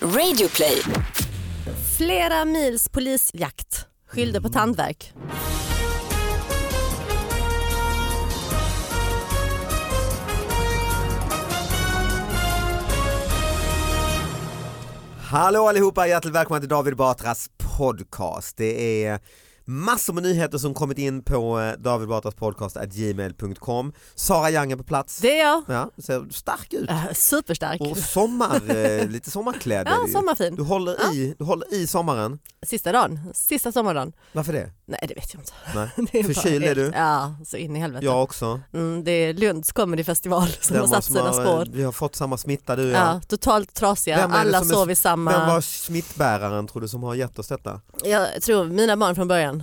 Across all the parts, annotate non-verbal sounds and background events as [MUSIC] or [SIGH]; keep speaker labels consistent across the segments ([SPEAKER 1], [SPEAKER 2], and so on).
[SPEAKER 1] Radioplay.
[SPEAKER 2] Flera mils polisjakt skyllde
[SPEAKER 3] Mm.
[SPEAKER 2] på tandverk.
[SPEAKER 3] Hallå allihopa, hjärtligt välkomna till David Batras podcast. Det är massor med nyheter som kommit in på eh, David Batras podcast at gmail.com. Sara Young är på plats.
[SPEAKER 2] Det är jag.
[SPEAKER 3] Ja, ser stark ut.
[SPEAKER 2] Äh, Superstark.
[SPEAKER 3] Och sommar,
[SPEAKER 2] [LAUGHS]
[SPEAKER 3] eh, lite sommarkläder.
[SPEAKER 2] Ja,
[SPEAKER 3] ju.
[SPEAKER 2] sommarfin.
[SPEAKER 3] Du håller, i, du håller i sommaren.
[SPEAKER 2] Sista dagen. Sista sommardagen.
[SPEAKER 3] Varför det?
[SPEAKER 2] Nej det vet jag inte. [LAUGHS]
[SPEAKER 3] Nej.
[SPEAKER 2] Det bara
[SPEAKER 3] Förkyld är
[SPEAKER 2] helt-
[SPEAKER 3] du?
[SPEAKER 2] Ja, så in i helvete. [LAUGHS]
[SPEAKER 3] Jag också.
[SPEAKER 2] Mm, det är Lunds comedyfestival som
[SPEAKER 3] Den
[SPEAKER 2] har
[SPEAKER 3] var
[SPEAKER 2] satt
[SPEAKER 3] som
[SPEAKER 2] sina
[SPEAKER 3] har, eh,
[SPEAKER 2] spår.
[SPEAKER 3] Vi har fått samma smitta du och jag.
[SPEAKER 2] Ja, totalt trasiga,
[SPEAKER 3] Vem är det
[SPEAKER 2] alla
[SPEAKER 3] som är-
[SPEAKER 2] sov i samma...
[SPEAKER 3] Vem var smittbäraren tror du som har gett oss detta?
[SPEAKER 2] Jag tror mina barn från början.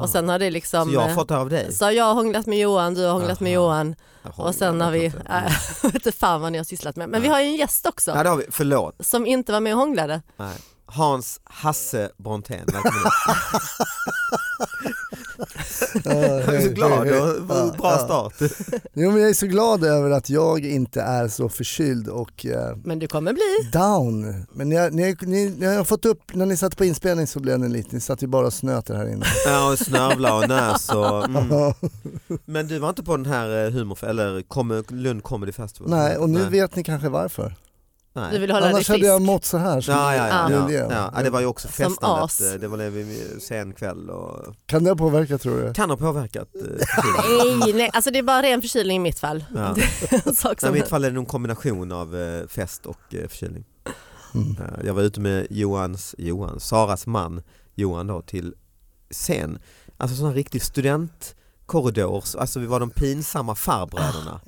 [SPEAKER 2] Och sen har det liksom...
[SPEAKER 3] Ah. Så jag har
[SPEAKER 2] eh,
[SPEAKER 3] fått det av dig?
[SPEAKER 2] Så jag har hånglat med Johan, du har hånglat med
[SPEAKER 3] Aha.
[SPEAKER 2] Johan
[SPEAKER 3] Jaha,
[SPEAKER 2] och sen
[SPEAKER 3] jag
[SPEAKER 2] har vi,
[SPEAKER 3] vet inte.
[SPEAKER 2] [LAUGHS] jag vet inte fan vad ni har sysslat med. Men vi har ju en gäst också
[SPEAKER 3] Ja, det har vi. Förlåt.
[SPEAKER 2] som inte var med och hånglade.
[SPEAKER 3] Nej. Hans Hasse Brontén, välkommen
[SPEAKER 4] [LAUGHS]
[SPEAKER 3] hit. [LAUGHS] Jag är så glad, och
[SPEAKER 4] Ja,
[SPEAKER 3] bra
[SPEAKER 4] ja.
[SPEAKER 3] start.
[SPEAKER 4] [LAUGHS] Jo, men jag är så glad över att jag inte är så förkyld och eh,
[SPEAKER 2] Men du kommer bli.
[SPEAKER 4] down. Men ni, har- ni, ni, ni har fått upp, när ni satt på inspelning så blev ni lite, ni satt ju bara och snöter här
[SPEAKER 3] [LAUGHS]
[SPEAKER 4] inne.
[SPEAKER 3] Ja, och snörvla och näs
[SPEAKER 4] [LAUGHS]
[SPEAKER 3] och, mm. Men du var inte på den här eh, humor, eller kom, Lund Comedy Festival?
[SPEAKER 4] Nej, och nu
[SPEAKER 3] Nej.
[SPEAKER 4] vet ni kanske varför.
[SPEAKER 3] Nej.
[SPEAKER 2] Du vill hålla dig
[SPEAKER 4] Annars
[SPEAKER 2] frisk.
[SPEAKER 4] hade jag mått så här. som
[SPEAKER 3] Ja, ja, ja,
[SPEAKER 4] det är
[SPEAKER 3] ja,
[SPEAKER 4] det.
[SPEAKER 3] ja. ja, det var ju också
[SPEAKER 2] Som as.
[SPEAKER 3] festandet, eh, det var en sen kväll och
[SPEAKER 4] Kan det ha påverkat tror du?
[SPEAKER 3] kan
[SPEAKER 2] [LAUGHS]
[SPEAKER 3] ha påverkat. eh, förkylningen.
[SPEAKER 2] Nej, nej, alltså det är bara ren förkylning i mitt fall. [LAUGHS]
[SPEAKER 3] Ja.
[SPEAKER 2] En sak
[SPEAKER 3] Nej, I
[SPEAKER 2] som...
[SPEAKER 3] mitt fall är det nog en kombination av eh, fest och eh, förkylning.
[SPEAKER 4] Mm.
[SPEAKER 3] Eh, Jag var ute med Johans, Johan, Saras man Johan då till scen. Alltså sån här riktig studentkorridor, alltså vi var de pinsamma farbröderna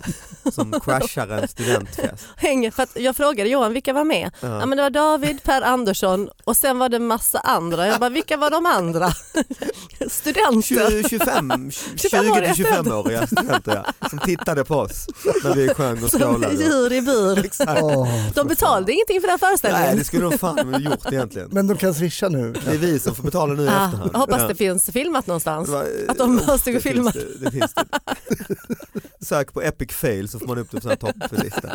[SPEAKER 2] Ah.
[SPEAKER 3] som crashar en studentfest. Eh,
[SPEAKER 2] Hänger, för att jag frågade Johan vilka var med? Ja. men det var David, Per Andersson och sen var det massa andra. Jag bara, vilka var de andra? [LAUGHS] Studenter.
[SPEAKER 3] 20, 25,
[SPEAKER 2] [LAUGHS] 25 år,
[SPEAKER 3] 20 25 åriga studenter ja, som tittade på oss när vi sjöng och
[SPEAKER 2] Som
[SPEAKER 3] skålade.
[SPEAKER 2] djur i bur.
[SPEAKER 3] Exakt.
[SPEAKER 4] Åh.
[SPEAKER 2] De betalade ingenting för den här
[SPEAKER 3] Nej det
[SPEAKER 2] föreställningen.
[SPEAKER 3] skulle de fan ha gjort egentligen.
[SPEAKER 4] Men de kan swisha nu.
[SPEAKER 3] Det är vi som får betala nu i
[SPEAKER 2] Ah,
[SPEAKER 3] efterhand.
[SPEAKER 2] jag hoppas
[SPEAKER 3] Ja.
[SPEAKER 2] det finns filmat någonstans.
[SPEAKER 3] Det var-
[SPEAKER 2] Att de
[SPEAKER 3] oh,
[SPEAKER 2] måste gå och
[SPEAKER 3] det
[SPEAKER 2] filma.
[SPEAKER 3] finns Det, det finns det. [LAUGHS] Sök på epic fail så får man upp det på sån här topplista.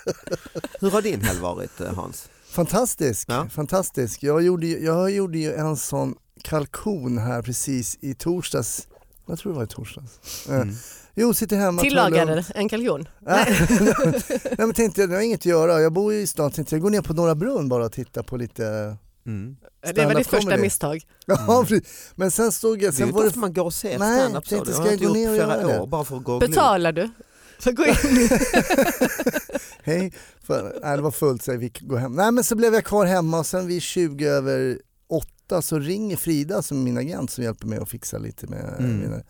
[SPEAKER 3] [LAUGHS] Hur har din helg varit eh, Hans?
[SPEAKER 4] Fantastisk,
[SPEAKER 3] Ja.
[SPEAKER 4] fantastisk. Jag gjorde, ju, jag gjorde ju en sån kalkon här precis i torsdags. Jag tror det var i torsdags.
[SPEAKER 3] Mm.
[SPEAKER 4] Eh, Jo, sitter hemma. tar det lugnt.
[SPEAKER 2] Tillagade en kalkon.
[SPEAKER 4] Nej. [LAUGHS] Nej men tänkte jag, jag har inget att göra, jag bor ju i stan, tänkte jag går ner på Norra Brunn bara och titta på lite
[SPEAKER 3] Mm.
[SPEAKER 2] Det var
[SPEAKER 4] Stand-up
[SPEAKER 2] ditt första
[SPEAKER 4] comedy.
[SPEAKER 2] misstag.
[SPEAKER 4] Ja, [LAUGHS] precis. Men sen såg jag,
[SPEAKER 3] Det är ju
[SPEAKER 4] sen
[SPEAKER 3] inte
[SPEAKER 4] var
[SPEAKER 3] ofta
[SPEAKER 4] det...
[SPEAKER 3] man går och ser
[SPEAKER 4] Nej,
[SPEAKER 3] standup så.
[SPEAKER 4] tänkte,
[SPEAKER 3] Det har jag
[SPEAKER 4] ska jag
[SPEAKER 3] inte
[SPEAKER 4] gå ner
[SPEAKER 3] gjort
[SPEAKER 4] och
[SPEAKER 3] flera
[SPEAKER 4] göra det?
[SPEAKER 3] år bara för att gå och glo.
[SPEAKER 2] Betalar du? För
[SPEAKER 3] [LAUGHS]
[SPEAKER 2] att gå in?
[SPEAKER 4] Hej, för, nej, det var fullt så jag fick gå hem. Nej men så blev jag kvar hemma och sen vid 20 över 8 så ringer Frida som är min agent som hjälper mig att fixa lite med
[SPEAKER 3] Mm.
[SPEAKER 4] mina...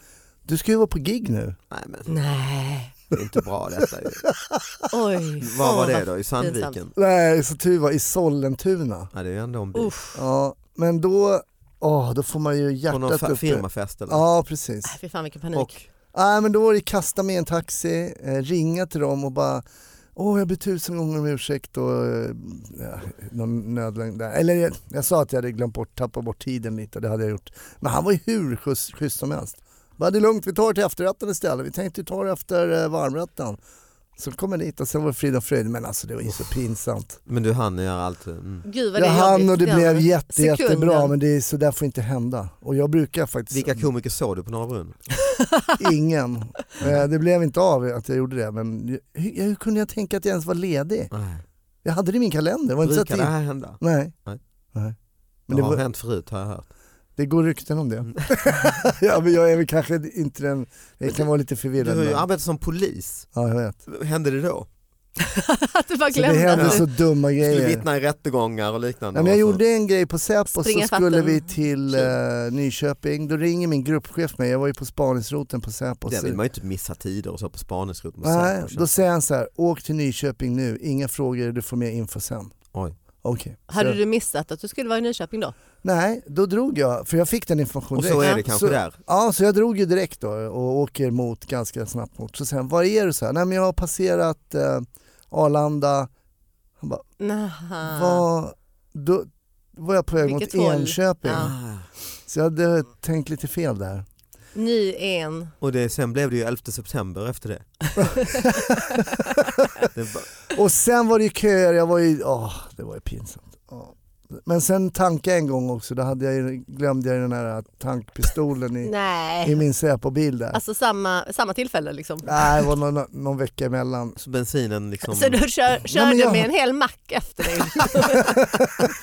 [SPEAKER 4] Du ska ju vara på gig nu.
[SPEAKER 3] Nej men
[SPEAKER 2] Nej.
[SPEAKER 3] det är inte bra detta [LAUGHS] ju.
[SPEAKER 2] Oj.
[SPEAKER 3] Vad var
[SPEAKER 2] Åh,
[SPEAKER 3] det
[SPEAKER 2] vad-
[SPEAKER 3] då? I Sandviken?
[SPEAKER 4] Nej, så tur var i Sollentuna.
[SPEAKER 3] Ja, det är ju ändå en bit.
[SPEAKER 2] Uff.
[SPEAKER 4] Ja, men då, åh, då får man ju
[SPEAKER 3] På någon
[SPEAKER 4] hjärtat
[SPEAKER 3] fa-
[SPEAKER 4] uppe.
[SPEAKER 3] firmafest eller?
[SPEAKER 4] Ja, precis.
[SPEAKER 2] Äh, Fy fan vilken panik.
[SPEAKER 3] Och?
[SPEAKER 4] Nej men då var det kasta med en taxi, eh, ringa till dem och bara Åh jag ber tusen gånger om ursäkt och eh, ja, någon nödlögn där. Eller jag, jag sa att jag hade glömt bort, tappat bort tiden lite, det hade jag gjort. Men han var ju hur schysst, schysst som helst. Bara det är lugnt, vi tar det till efterrätten istället. Vi tänkte ju ta det efter eh, varmrätten. Så kom jag dit och sen var det frid och fröjd. Men alltså det var ju så pinsamt.
[SPEAKER 3] Men du hann göra allt. Mm.
[SPEAKER 2] Gud vad
[SPEAKER 4] Jag
[SPEAKER 2] det är
[SPEAKER 4] hann
[SPEAKER 2] jobbigt.
[SPEAKER 4] och det
[SPEAKER 2] var
[SPEAKER 4] blev jätte,
[SPEAKER 2] Sekunden.
[SPEAKER 4] jättebra men det är, så där får inte hända. Och jag brukar faktiskt
[SPEAKER 3] Vilka komiker såg du på Norra Brunn?
[SPEAKER 4] Ingen. Eh, Det blev inte av att jag gjorde det. Men hur, hur kunde jag tänka att jag ens var ledig?
[SPEAKER 3] Nej.
[SPEAKER 4] Jag hade det i min kalender. Var inte så
[SPEAKER 3] Brukar
[SPEAKER 4] att
[SPEAKER 3] det
[SPEAKER 4] jag-
[SPEAKER 3] här hända?
[SPEAKER 4] Nej.
[SPEAKER 3] Nej.
[SPEAKER 4] Nej. Men
[SPEAKER 3] Det
[SPEAKER 4] det,
[SPEAKER 3] har
[SPEAKER 4] var,
[SPEAKER 3] hänt förut har jag hört.
[SPEAKER 4] det går rykten om det.
[SPEAKER 3] Mm.
[SPEAKER 4] [LAUGHS] ja, men jag är väl kanske inte den...
[SPEAKER 3] Men
[SPEAKER 4] Jag kan vara lite
[SPEAKER 3] Du
[SPEAKER 4] förvirrad.
[SPEAKER 3] har ju
[SPEAKER 4] men-
[SPEAKER 3] arbetat som polis.
[SPEAKER 4] Ja, jag vet.
[SPEAKER 3] Hände det då?
[SPEAKER 2] [LAUGHS] Att du bara
[SPEAKER 4] Så det
[SPEAKER 2] glömde.
[SPEAKER 4] händer
[SPEAKER 3] Ja.
[SPEAKER 4] så dumma
[SPEAKER 3] skulle
[SPEAKER 4] grejer.
[SPEAKER 3] vittna i rättegångar och liknande.
[SPEAKER 4] Nej, men jag
[SPEAKER 3] Och så-
[SPEAKER 4] gjorde en grej på Säpo så
[SPEAKER 2] Springa i
[SPEAKER 4] skulle
[SPEAKER 2] fatten.
[SPEAKER 4] vi till eh, Nyköping. Då ringer min gruppchef mig. Jag var ju på spaningsroten på Säpo.
[SPEAKER 3] Det
[SPEAKER 4] så-
[SPEAKER 3] vill man ju inte missa tider och så på liksom. spaningsrot. med
[SPEAKER 4] Nej,
[SPEAKER 3] Säpo.
[SPEAKER 4] då säger han så här. Åk till Nyköping nu. Inga frågor. Du får mer info sen.
[SPEAKER 3] Oj.
[SPEAKER 4] Okej.
[SPEAKER 2] Hade
[SPEAKER 4] Så-
[SPEAKER 2] du missat att du skulle vara i Nyköping då?
[SPEAKER 4] Nej, då drog jag, för jag fick den informationen
[SPEAKER 3] Och så
[SPEAKER 4] direkt.
[SPEAKER 3] är det kanske
[SPEAKER 4] så,
[SPEAKER 3] där.
[SPEAKER 4] Ja, så jag drog ju direkt då och åker mot ganska snabbt mot. Så sen, var är du? Så här, nej men jag har passerat eh, Arlanda,
[SPEAKER 2] Naha.
[SPEAKER 4] var, då var jag på väg
[SPEAKER 2] Ah. Vilket
[SPEAKER 4] mot
[SPEAKER 2] håll?
[SPEAKER 4] Enköping.
[SPEAKER 2] Ja.
[SPEAKER 4] Så jag hade tänkt lite fel där.
[SPEAKER 2] Ny en.
[SPEAKER 3] Och det, sen blev det ju 11 september efter
[SPEAKER 4] [LAUGHS]
[SPEAKER 3] det. det var,
[SPEAKER 4] Och sen var det ju köer, jag var ju, åh, det var ju pinsamt. Åh. Men sen tankade jag en gång också, då hade jag, ju- glömde jag ju den här tankpistolen i, i
[SPEAKER 2] Nej.
[SPEAKER 4] min Säpo-bil där.
[SPEAKER 2] Alltså samma, samma tillfälle liksom.
[SPEAKER 4] Nej, det var någon, någon vecka emellan.
[SPEAKER 3] så bensinen liksom
[SPEAKER 2] Så du kör, körde
[SPEAKER 4] men jag-
[SPEAKER 2] med en hel mack efter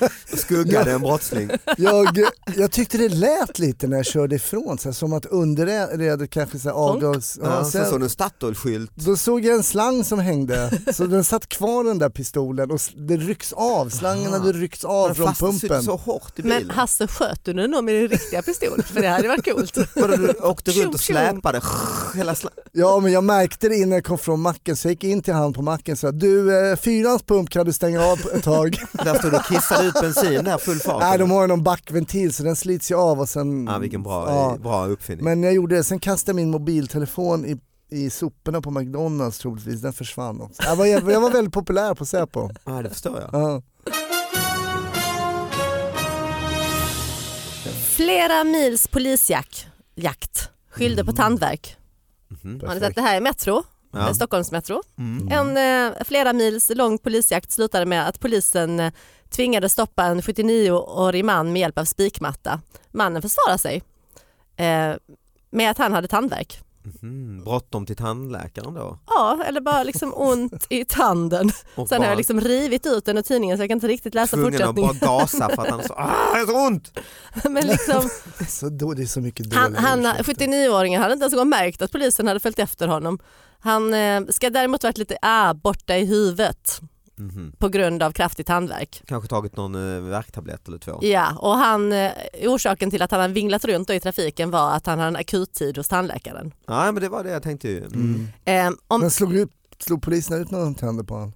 [SPEAKER 4] [LAUGHS]
[SPEAKER 2] dig?
[SPEAKER 3] skuggade en brottsling.
[SPEAKER 4] Jag, jag tyckte det lät lite när jag körde ifrån, så här, som att underredet kanske så här
[SPEAKER 2] Honk.
[SPEAKER 4] avgas. Ja,
[SPEAKER 3] Ja,
[SPEAKER 4] så
[SPEAKER 3] sen
[SPEAKER 4] jag-
[SPEAKER 3] såg du en Statoil-skylt.
[SPEAKER 4] Då såg jag en slang som hängde, så den satt kvar den där pistolen och s- det rycks av, slangen hade ryckts av
[SPEAKER 3] Den
[SPEAKER 4] från
[SPEAKER 3] fastnade
[SPEAKER 4] pumpen.
[SPEAKER 3] så hårt i bilen.
[SPEAKER 2] Men Hasse sköt du den då med din riktiga pistol? För det hade varit coolt.
[SPEAKER 3] Vadå, du åkte runt och
[SPEAKER 2] Tjong, tjong.
[SPEAKER 3] släpade [LAUGHS] hela sla-
[SPEAKER 4] Ja men jag märkte det innan jag kom från macken så jag gick in till han på macken och sa du eh, fyrans pump kan du stänga av
[SPEAKER 3] [LAUGHS]
[SPEAKER 4] ett tag.
[SPEAKER 3] Där stod du och kissade ut bensin där full fart.
[SPEAKER 4] Nej de har ju någon backventil så den slits ju av och sen...
[SPEAKER 3] Ja, Ah, vilken bra,
[SPEAKER 4] Ja.
[SPEAKER 3] bra uppfinning.
[SPEAKER 4] Men jag gjorde det, sen kastade jag min mobiltelefon i, i soporna på McDonalds troligtvis, den försvann också. Jag var, jag var väldigt populär på Säpo.
[SPEAKER 3] Ja, det förstår jag.
[SPEAKER 4] Ja.
[SPEAKER 2] Flera mils polisjakt skyllde på
[SPEAKER 4] Mm.
[SPEAKER 2] tandvärk. Har ni sett det här i Metro?
[SPEAKER 3] Ja.
[SPEAKER 2] Stockholms Metro. Eh, En eh, flera mils lång polisjakt slutade med att polisen eh, tvingades stoppa en 79-årig man med hjälp av spikmatta. Mannen försvarade sig eh, med att han hade tandvärk.
[SPEAKER 3] Mm, bråttom till tandläkaren då.
[SPEAKER 2] Ja, eller bara liksom ont i tanden. [LAUGHS]
[SPEAKER 3] Och
[SPEAKER 2] Sen har
[SPEAKER 3] bara
[SPEAKER 2] jag liksom rivit ut den ur tidningen så jag kan inte riktigt
[SPEAKER 4] Alltså,
[SPEAKER 2] läsa
[SPEAKER 3] tvungen att bara
[SPEAKER 2] fortsättningen.
[SPEAKER 3] gasa för att
[SPEAKER 4] [LAUGHS]
[SPEAKER 3] han sa ah, det är så ont.
[SPEAKER 2] [LAUGHS] Men liksom,
[SPEAKER 4] Det, är så, då, det är så mycket dåliga
[SPEAKER 2] han, han,
[SPEAKER 4] ursäkter.
[SPEAKER 2] 79-åringen hade inte ens en gång märkt att polisen hade följt efter honom. Han eh, ska däremot varit lite ah, borta i huvudet
[SPEAKER 3] Mhm.
[SPEAKER 2] på grund av kraftig tandvärk.
[SPEAKER 3] Kanske tagit någon eh, värktablett eller två.
[SPEAKER 2] Ja, och han, eh, orsaken till att han hade vinglat runt då i trafiken var att han hade en akuttid hos tandläkaren.
[SPEAKER 3] Nej men det var det jag tänkte ju.
[SPEAKER 4] Mm.
[SPEAKER 2] Eh, om,
[SPEAKER 3] [LAUGHS]
[SPEAKER 4] Men slog, ut, slog poliserna ut när de tände på honom?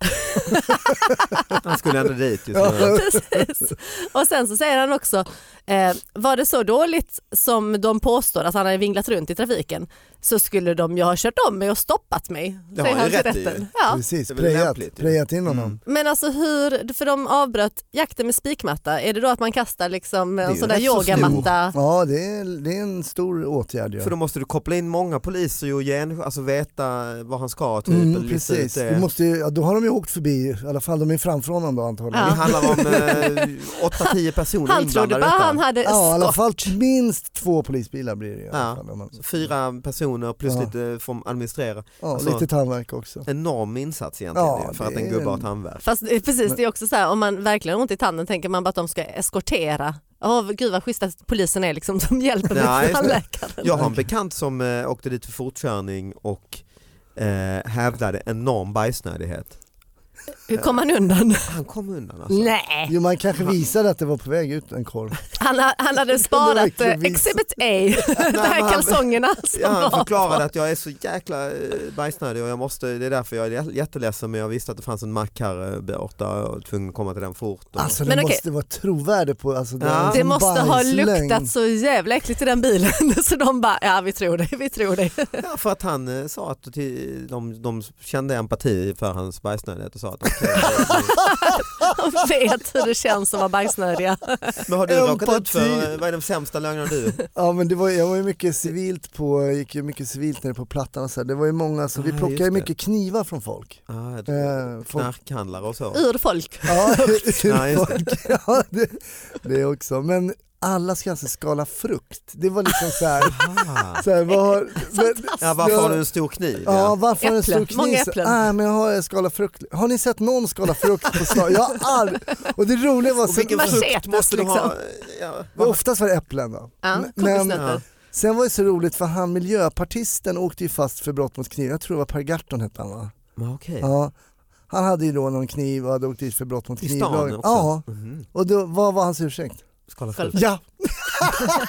[SPEAKER 3] Han skulle ändå dit ju. så-
[SPEAKER 4] Ja.
[SPEAKER 2] precis. Och sen så säger han också, eh, var det så dåligt som de påstår att han hade vinglat runt i trafiken så skulle de ju ha kört om mig och stoppat mig.
[SPEAKER 3] Det
[SPEAKER 2] säger
[SPEAKER 3] har
[SPEAKER 2] han
[SPEAKER 3] ju
[SPEAKER 2] till
[SPEAKER 3] rätt i.
[SPEAKER 2] rätten. Ja.
[SPEAKER 4] Precis,
[SPEAKER 3] Det är väl
[SPEAKER 4] prejat,
[SPEAKER 3] lämpligt ju.
[SPEAKER 4] prejat in honom.
[SPEAKER 3] Mm.
[SPEAKER 2] Men alltså hur, för de avbröt jakten med spikmatta, är det då att man kastar liksom
[SPEAKER 3] är
[SPEAKER 2] en
[SPEAKER 3] ju
[SPEAKER 2] sån där
[SPEAKER 3] rätt så stor.
[SPEAKER 2] yogamatta?
[SPEAKER 4] Ja det är, det är en stor åtgärd ja.
[SPEAKER 3] För då måste du koppla in många poliser och gen, alltså veta vad han ska typ. eller
[SPEAKER 4] Mm,
[SPEAKER 3] lista ut
[SPEAKER 4] precis,
[SPEAKER 3] det.
[SPEAKER 4] du måste ju, ja, då har de ju åkt förbi, i alla fall de är framför honom då antagligen.
[SPEAKER 3] Det
[SPEAKER 2] Ja.
[SPEAKER 4] Ja,
[SPEAKER 3] handlar om
[SPEAKER 4] [LAUGHS]
[SPEAKER 3] eh, 8-10 personer
[SPEAKER 2] Han trodde
[SPEAKER 3] inblandade i
[SPEAKER 2] bara
[SPEAKER 3] detta.
[SPEAKER 2] han hade
[SPEAKER 4] i alla
[SPEAKER 2] stopp.
[SPEAKER 4] fall minst två polisbilar blir det ju. i alla
[SPEAKER 3] Ja.
[SPEAKER 4] fall, om man-
[SPEAKER 3] Fyra personer plus
[SPEAKER 4] Ja.
[SPEAKER 3] lite från administrera.
[SPEAKER 4] Ja,
[SPEAKER 3] Alltså-
[SPEAKER 4] lite tandvärk också.
[SPEAKER 3] Enorm insats egentligen
[SPEAKER 4] Ja,
[SPEAKER 3] ju, för
[SPEAKER 4] det
[SPEAKER 3] att en
[SPEAKER 4] är
[SPEAKER 3] gubbe har
[SPEAKER 4] en-
[SPEAKER 3] tandvärk.
[SPEAKER 2] Fast det är precis, det är också så här, om man verkligen har ont i tanden tänker man bara att de ska eskortera. Åh gud vad schysst att polisen är liksom som hjälper [LAUGHS]
[SPEAKER 3] Nej,
[SPEAKER 2] mig
[SPEAKER 3] just
[SPEAKER 2] till
[SPEAKER 3] det.
[SPEAKER 2] tandläkaren.
[SPEAKER 3] Jag har en bekant som eh, åkte dit för fortkörning och eh, hävdade enorm bajsnödighet.
[SPEAKER 2] Hur kom han
[SPEAKER 3] [LAUGHS]
[SPEAKER 2] undan?
[SPEAKER 3] Han kom undan [LAUGHS]
[SPEAKER 4] Mm.
[SPEAKER 3] alltså.
[SPEAKER 2] Nej,
[SPEAKER 4] Jo, man kanske visade att det var på väg ut en korv.
[SPEAKER 2] han, ha- han hade
[SPEAKER 4] Det var
[SPEAKER 2] sparat eh,
[SPEAKER 4] verkligen vis-
[SPEAKER 2] Exhibit A, [LAUGHS] de
[SPEAKER 3] men
[SPEAKER 2] här
[SPEAKER 3] han-
[SPEAKER 2] kalsongerna som
[SPEAKER 3] Ja, han
[SPEAKER 2] var.
[SPEAKER 3] förklarade att jag är så jäkla eh, bajsnödig och jag måste, det är därför jag är jä- jätteledsen men jag visste att det fanns en mack här eh, borta och var tvungen att komma till den fort. Och...
[SPEAKER 4] Alltså det
[SPEAKER 2] Men okej.
[SPEAKER 4] måste vara trovärdigt på, alltså, det,
[SPEAKER 3] Ja.
[SPEAKER 4] är en
[SPEAKER 2] Det
[SPEAKER 4] sån
[SPEAKER 2] måste ha
[SPEAKER 4] bajslängd.
[SPEAKER 2] luktat så jävla äckligt i den bilen [LAUGHS] så de bara, ja vi tror dig, vi tror dig. [LAUGHS]
[SPEAKER 3] Ja, för att han eh, sa att till- de, de kände empati för hans bajsnödighet och sa att okej,
[SPEAKER 2] De vet hur det känns att vara bajsnödiga.
[SPEAKER 3] men har du råkat ut för,
[SPEAKER 4] [LAUGHS] Empati.
[SPEAKER 3] eh, vad är de sämsta lögnerna du?
[SPEAKER 4] Ja men det var, jag var ju mycket civilt på, jag gick ju mycket civilt nere på Plattan och så här. det var ju många, så vi
[SPEAKER 3] Ah,
[SPEAKER 4] plockade
[SPEAKER 3] just
[SPEAKER 4] ju
[SPEAKER 3] det.
[SPEAKER 4] mycket knivar från folk.
[SPEAKER 3] Ah, jag tror-
[SPEAKER 4] Eh, folk Alltså.
[SPEAKER 3] knarkhandlare och så.
[SPEAKER 2] Ur folk.
[SPEAKER 4] [LAUGHS] ja,
[SPEAKER 3] Ja, just
[SPEAKER 4] folk. [LAUGHS] ja, det, det också, men alla ska alltså skala frukt. Det var liksom
[SPEAKER 3] [LAUGHS]
[SPEAKER 4] så här,
[SPEAKER 3] Ah.
[SPEAKER 4] så här vad har, men,
[SPEAKER 3] Ja, varför har du en stor kniv?
[SPEAKER 4] Ja, varför har du en
[SPEAKER 2] Äpplen.
[SPEAKER 4] stor
[SPEAKER 2] Många
[SPEAKER 4] kniv?
[SPEAKER 2] äpplen.
[SPEAKER 4] Nej, men jag har skalat frukt. Har ni sett någon skala frukt på stan? Jag har aldrig. Och det roliga var,
[SPEAKER 3] Och vilken
[SPEAKER 4] sen, [LAUGHS]
[SPEAKER 2] Machetes, liksom.
[SPEAKER 3] frukt måste du ha?
[SPEAKER 4] liksom.
[SPEAKER 3] Ja, vad-
[SPEAKER 4] oftast var det äpplen då.
[SPEAKER 2] Ja,
[SPEAKER 4] Men-
[SPEAKER 2] kokosnötter.
[SPEAKER 4] Sen var det så roligt för han miljöpartisten åkte ju fast för brott mot kniv. Jag tror det var Per Gahrton hette han va?
[SPEAKER 3] Men okej.
[SPEAKER 4] Ja. Han hade ju då någon kniv och hade åkt dit för brott mot
[SPEAKER 3] I stan
[SPEAKER 4] knivlagen.
[SPEAKER 3] också?
[SPEAKER 4] Ja,
[SPEAKER 3] Mhm.
[SPEAKER 4] och då, vad var hans ursäkt?
[SPEAKER 3] Skala
[SPEAKER 2] Skala
[SPEAKER 3] frukt.
[SPEAKER 4] Ja!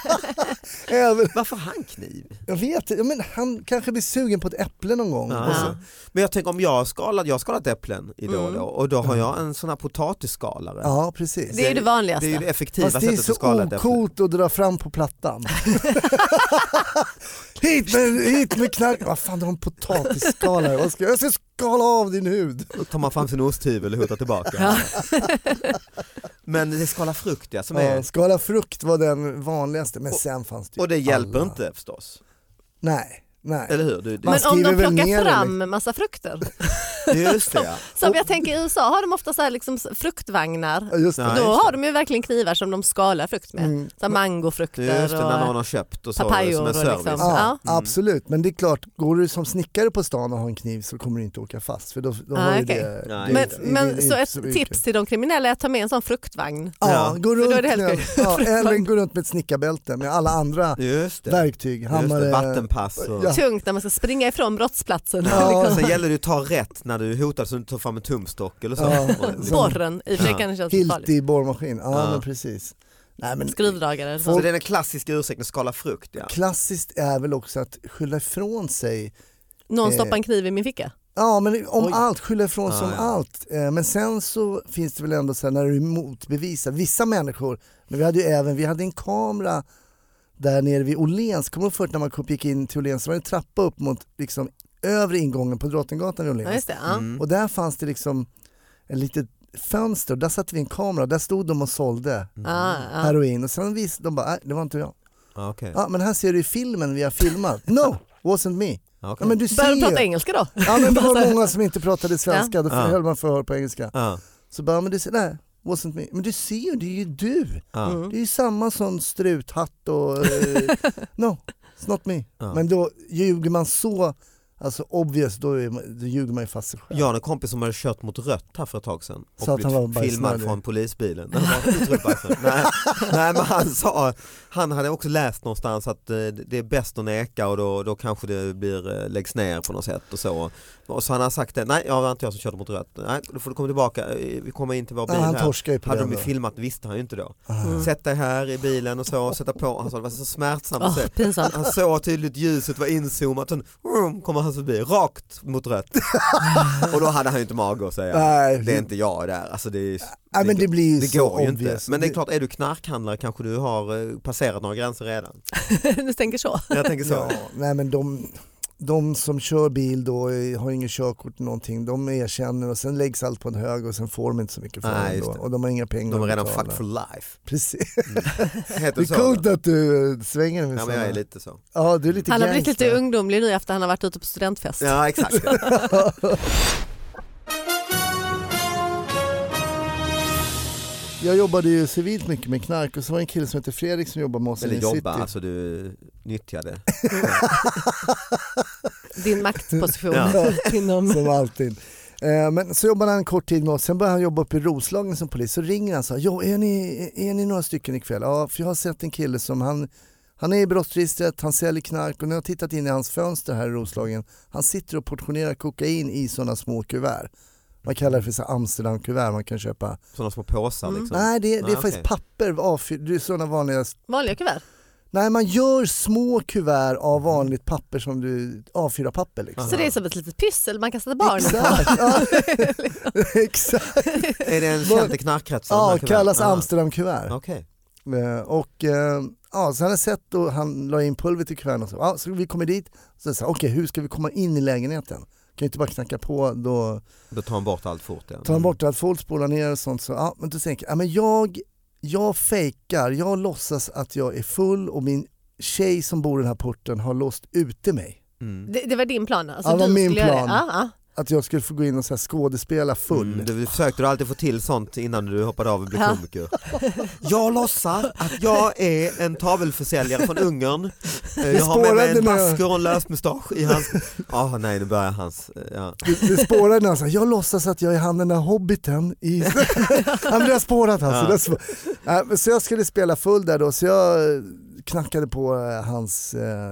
[SPEAKER 4] [LAUGHS] Även,
[SPEAKER 3] Varför har han kniv?
[SPEAKER 4] jag vet inte, men han kanske blir sugen på ett äpple någon gång.
[SPEAKER 3] Ja.
[SPEAKER 4] Och så,
[SPEAKER 3] Men jag tänker om jag har skalat, jag har skalat äpplen i då och då och då har jag en sån här potatisskalare.
[SPEAKER 4] ja precis.
[SPEAKER 2] Det är ju det vanligaste.
[SPEAKER 3] Det är ju det effektiva
[SPEAKER 4] Fast det är
[SPEAKER 3] sättet
[SPEAKER 4] så
[SPEAKER 3] att skala ett äpple.
[SPEAKER 4] ocoolt att dra fram på
[SPEAKER 3] [LAUGHS]
[SPEAKER 4] plattan. [LAUGHS] hit, med, hit med knark. Vad fan, du har en potatisskalare. Vad ska jag? jag ska skala av din hud.
[SPEAKER 3] Då tar man fram sin osthyvel och hotar tillbaka. [LAUGHS] Men det är skala frukt ja, som
[SPEAKER 4] Ja,
[SPEAKER 3] är...
[SPEAKER 4] skala frukt var den vanligaste, men sen fanns det ju
[SPEAKER 3] Och det hjälper
[SPEAKER 4] alla.
[SPEAKER 3] inte förstås.
[SPEAKER 4] Nej, nej.
[SPEAKER 3] Eller hur? Du, du,
[SPEAKER 4] Man
[SPEAKER 2] Men om de
[SPEAKER 4] skriver väl ner
[SPEAKER 2] plockar
[SPEAKER 4] det,
[SPEAKER 2] fram massa frukter.
[SPEAKER 3] just det ja.
[SPEAKER 2] Som jag tänker i USA har de ofta så här liksom fruktvagnar.
[SPEAKER 4] Ja, Just det.
[SPEAKER 3] Nej.
[SPEAKER 2] Då
[SPEAKER 3] just det.
[SPEAKER 2] har de ju verkligen knivar som de skalar frukt med.
[SPEAKER 4] Mm.
[SPEAKER 2] Så här mangofrukter
[SPEAKER 3] Just det, när någon
[SPEAKER 2] och...
[SPEAKER 3] har köpt och så
[SPEAKER 2] papayor
[SPEAKER 3] som en
[SPEAKER 2] och
[SPEAKER 3] service.
[SPEAKER 2] liksom.
[SPEAKER 4] Ja,
[SPEAKER 2] Ja.
[SPEAKER 3] Mm.
[SPEAKER 4] Absolut, men det är klart, går du som snickare på stan och har en kniv så kommer du inte åka fast. För då, då
[SPEAKER 2] Ah,
[SPEAKER 4] har ju
[SPEAKER 2] okej.
[SPEAKER 4] det,
[SPEAKER 3] Nej.
[SPEAKER 4] det,
[SPEAKER 2] Men,
[SPEAKER 4] det-
[SPEAKER 2] men
[SPEAKER 4] det-
[SPEAKER 2] så
[SPEAKER 4] det-
[SPEAKER 2] ett
[SPEAKER 4] det-
[SPEAKER 2] tips till de kriminella är att ta med en sån fruktvagn.
[SPEAKER 4] Ja,
[SPEAKER 3] Ja.
[SPEAKER 4] gå
[SPEAKER 2] då är
[SPEAKER 4] runt
[SPEAKER 2] det helt
[SPEAKER 4] med,
[SPEAKER 2] [LAUGHS]
[SPEAKER 4] ja, eller gå runt med ett snickarbälte med alla andra
[SPEAKER 3] Just det.
[SPEAKER 4] verktyg,
[SPEAKER 3] Just det.
[SPEAKER 4] hammare,
[SPEAKER 3] Vattenpass och...
[SPEAKER 4] Ja.
[SPEAKER 2] Tungt när man ska springa ifrån brottsplatsen. [LAUGHS]
[SPEAKER 3] [LAUGHS]
[SPEAKER 4] Ja.
[SPEAKER 3] Sen gäller det att ta rätt när du hotar så du inte tar fram en tumstock eller så. liksom-
[SPEAKER 4] Ja.
[SPEAKER 2] Borren, i och för sig
[SPEAKER 3] Ja.
[SPEAKER 2] kan det kännas farligt.
[SPEAKER 4] Hilti borrmaskin. Ja,
[SPEAKER 3] Ja.
[SPEAKER 4] men precis. Nej, men
[SPEAKER 2] Skruvdragare eller
[SPEAKER 3] Så
[SPEAKER 2] sånt.
[SPEAKER 3] det är den klassiska ursäkten, skala frukt ja.
[SPEAKER 4] klassiskt är väl också att skylla ifrån sig.
[SPEAKER 2] Någon stoppar en kniv i min ficka.
[SPEAKER 4] Ja, men om
[SPEAKER 3] Oj.
[SPEAKER 4] allt, skylla ifrån sig
[SPEAKER 3] Ja,
[SPEAKER 4] om
[SPEAKER 3] ja.
[SPEAKER 4] allt. Eh, Men sen så finns det väl ändå så här när du motbevisar. Vissa människor, men vi hade ju även, vi hade en kamera där nere vid Åhléns, kommer du ihåg förut när man gick in till Åhléns så var det en trappa upp mot liksom övre ingången på Drottninggatan vid
[SPEAKER 2] Ja,
[SPEAKER 4] Åhléns.
[SPEAKER 2] just det. Ja.
[SPEAKER 3] Mm.
[SPEAKER 4] Och där fanns det liksom ett litet fönster och där satte vi en kamera och där stod de och sålde
[SPEAKER 2] Ah, Ja, ja.
[SPEAKER 4] heroin och sen visade de bara, "Nej, det var inte jag.
[SPEAKER 3] Ja, okej.
[SPEAKER 4] Ja, men här ser du i filmen vi har filmat. No, wasn't me.
[SPEAKER 3] Ja,
[SPEAKER 4] Ja,
[SPEAKER 3] okej.
[SPEAKER 4] men du
[SPEAKER 2] Börjar
[SPEAKER 4] ser
[SPEAKER 2] de prata
[SPEAKER 4] ju.
[SPEAKER 2] engelska då?
[SPEAKER 4] Ja, men det var många som inte pratade svenska, då
[SPEAKER 3] Ja.
[SPEAKER 4] höll man förhör på engelska.
[SPEAKER 3] Ja,
[SPEAKER 4] Så bara, men du ser, nej, wasn't me. Men du ser ju, det är ju du.
[SPEAKER 3] ja.
[SPEAKER 2] Mm.
[SPEAKER 4] Det är ju samma som struthatt och eh, no, it's not me.
[SPEAKER 3] Ja.
[SPEAKER 4] Men då ljuger man så, alltså obvious, då, är, man- då ljuger man ju fast sig själv.
[SPEAKER 3] Jag hade en kompis som hade kört mot rött här för ett tag sedan och
[SPEAKER 4] Så att
[SPEAKER 3] blivit
[SPEAKER 4] han var bajsnödig.
[SPEAKER 3] filmad från polisbilen. Nej, han var otroligt bajsnödig. [LAUGHS] nej, nej men han sa, han hade också läst någonstans att eh, det är bäst att neka och då, då kanske det blir, eh, läggs ner på något sätt och så. Och så han har sagt det, nej jag var inte jag som körde mot rött, nej då får du komma tillbaka, Eh, vi kommer in till vår bil
[SPEAKER 4] Ja, han
[SPEAKER 3] här.
[SPEAKER 4] torskar ju på Ah.
[SPEAKER 3] Hade de
[SPEAKER 4] den
[SPEAKER 3] ju
[SPEAKER 4] då.
[SPEAKER 3] filmat visste han ju inte då.
[SPEAKER 2] Mm.
[SPEAKER 3] Sätt dig här i bilen och så, sätta på, han sa det var så smärtsamt att
[SPEAKER 2] Åh,
[SPEAKER 3] se.
[SPEAKER 4] Ah.
[SPEAKER 3] [LAUGHS]
[SPEAKER 2] pinsamt.
[SPEAKER 3] Han såg tydligt ljuset var inzoomat, sen vroom, kommer han förbi, rakt mot
[SPEAKER 4] [LAUGHS]
[SPEAKER 3] rött. och då hade han ju inte mage att säga
[SPEAKER 4] Nej,
[SPEAKER 3] det är inte jag där. Alltså det, är,
[SPEAKER 4] nej, men det blir ju
[SPEAKER 3] det
[SPEAKER 4] så
[SPEAKER 3] går ju inte.
[SPEAKER 4] obvious.
[SPEAKER 3] Men det är klart, är du knarkhandlare kanske du har eh, passerat några gränser redan.
[SPEAKER 2] du tänker så.
[SPEAKER 3] Jag tänker så.
[SPEAKER 4] Ja, nej men de, de som kör bil då eh, har inget körkort någonting, de erkänner och sen läggs allt på en hög och sen får de inte så mycket för
[SPEAKER 3] Nej,
[SPEAKER 4] det
[SPEAKER 3] just
[SPEAKER 4] då.
[SPEAKER 3] det.
[SPEAKER 4] och de har inga pengar
[SPEAKER 3] De är
[SPEAKER 4] att
[SPEAKER 3] redan
[SPEAKER 4] betala.
[SPEAKER 3] fucked for life.
[SPEAKER 4] Precis.
[SPEAKER 3] Heter
[SPEAKER 4] Det
[SPEAKER 3] det
[SPEAKER 4] är
[SPEAKER 3] så?
[SPEAKER 4] coolt
[SPEAKER 3] eller?
[SPEAKER 4] att du eh, svänger med
[SPEAKER 3] Ja men
[SPEAKER 4] såna.
[SPEAKER 3] jag är lite så.
[SPEAKER 4] ja, du är lite
[SPEAKER 2] Han har blivit
[SPEAKER 4] gangster.
[SPEAKER 2] lite ungdomlig nu efter han har varit ute på studentfest.
[SPEAKER 3] Ja
[SPEAKER 4] [LAUGHS]
[SPEAKER 3] exakt.
[SPEAKER 4] Jag jobbade ju civilt mycket med knark och så var det en kille som hette Fredrik som jobbade med oss
[SPEAKER 3] Eller
[SPEAKER 4] i City.
[SPEAKER 3] jobba, alltså du nyttjade.
[SPEAKER 2] Din maktposition
[SPEAKER 3] [LAUGHS] Ja.
[SPEAKER 2] inom...
[SPEAKER 4] [LAUGHS] Som alltid. Eh, Men så jobbade han en kort tid med oss, sen började han jobba uppe i Roslagen som polis. Så ringer han och säger, "Jo, är ni, är ni några stycken ikväll? Ja, för jag har sett en kille som, han, han är i brottsregistret, han säljer knark och nu har jag tittat in i hans fönster här i Roslagen. Han sitter och portionerar kokain i sådana små kuvert. Man kallar det för så här Amsterdamkuvert man kan köpa.
[SPEAKER 3] Sådana små påsar
[SPEAKER 2] Mm.
[SPEAKER 3] liksom.
[SPEAKER 4] Nej, det, det är
[SPEAKER 3] Nej,
[SPEAKER 4] faktiskt
[SPEAKER 3] okej.
[SPEAKER 4] papper, A4, det är sådana vanliga
[SPEAKER 2] Vanliga kuvert.
[SPEAKER 4] Nej, man gör små kuvert av vanligt papper som du A4-papper liksom.
[SPEAKER 2] Så det är som ett litet pyssel man kan sätta barnen på.
[SPEAKER 4] Exakt, ja. Exakt.
[SPEAKER 3] Är det en känd i knarkkretsen? de här
[SPEAKER 4] Ja,
[SPEAKER 3] kuverten?
[SPEAKER 4] kallas
[SPEAKER 3] Ah,
[SPEAKER 4] Amsterdamkuvert.
[SPEAKER 3] Okej.
[SPEAKER 4] Eh, Och eh, ja, så han har sett och han la in pulvret i kuverten och så, ja, så vi kommer dit. Så sa okej hur ska vi komma in i lägenheten? Kan ju inte bara knacka på då,
[SPEAKER 3] Då tar han bort allt fort ja.
[SPEAKER 4] tar han bort allt folk, spolar ner och sånt. Så ja, men då tänker jag, ja, men jag, jag fejkar, jag låtsas att jag är full och min tjej som bor i den här porten har låst ute mig.
[SPEAKER 3] Mm.
[SPEAKER 2] Det, det var din plan? Alltså,
[SPEAKER 4] Ja, det var
[SPEAKER 2] du
[SPEAKER 4] min
[SPEAKER 2] skulle göra
[SPEAKER 4] plan.
[SPEAKER 2] Det. Ja, ja.
[SPEAKER 4] att jag skulle få gå in och så här skådespela full.
[SPEAKER 3] Mm, du försökte du alltid få till sånt innan du hoppade av och blev
[SPEAKER 2] Ja.
[SPEAKER 3] komiker. Jag låtsas att jag är en tavelförsäljare från Ungern. Eh, Jag har med mig
[SPEAKER 4] spårade
[SPEAKER 3] en
[SPEAKER 4] när jag-
[SPEAKER 3] masker och en lösmustasch i hans... Ah nej, nu börjar hans... eh, Ja.
[SPEAKER 4] Det, det spårade när han sa, jag låtsas att jag är han den där hobbiten
[SPEAKER 3] [LAUGHS]
[SPEAKER 4] i... ja, men det har spårat alltså.
[SPEAKER 3] Ja.
[SPEAKER 4] Det har spå... Ja, men så jag skulle spela full där då, så jag eh, knackade på eh, hans eh,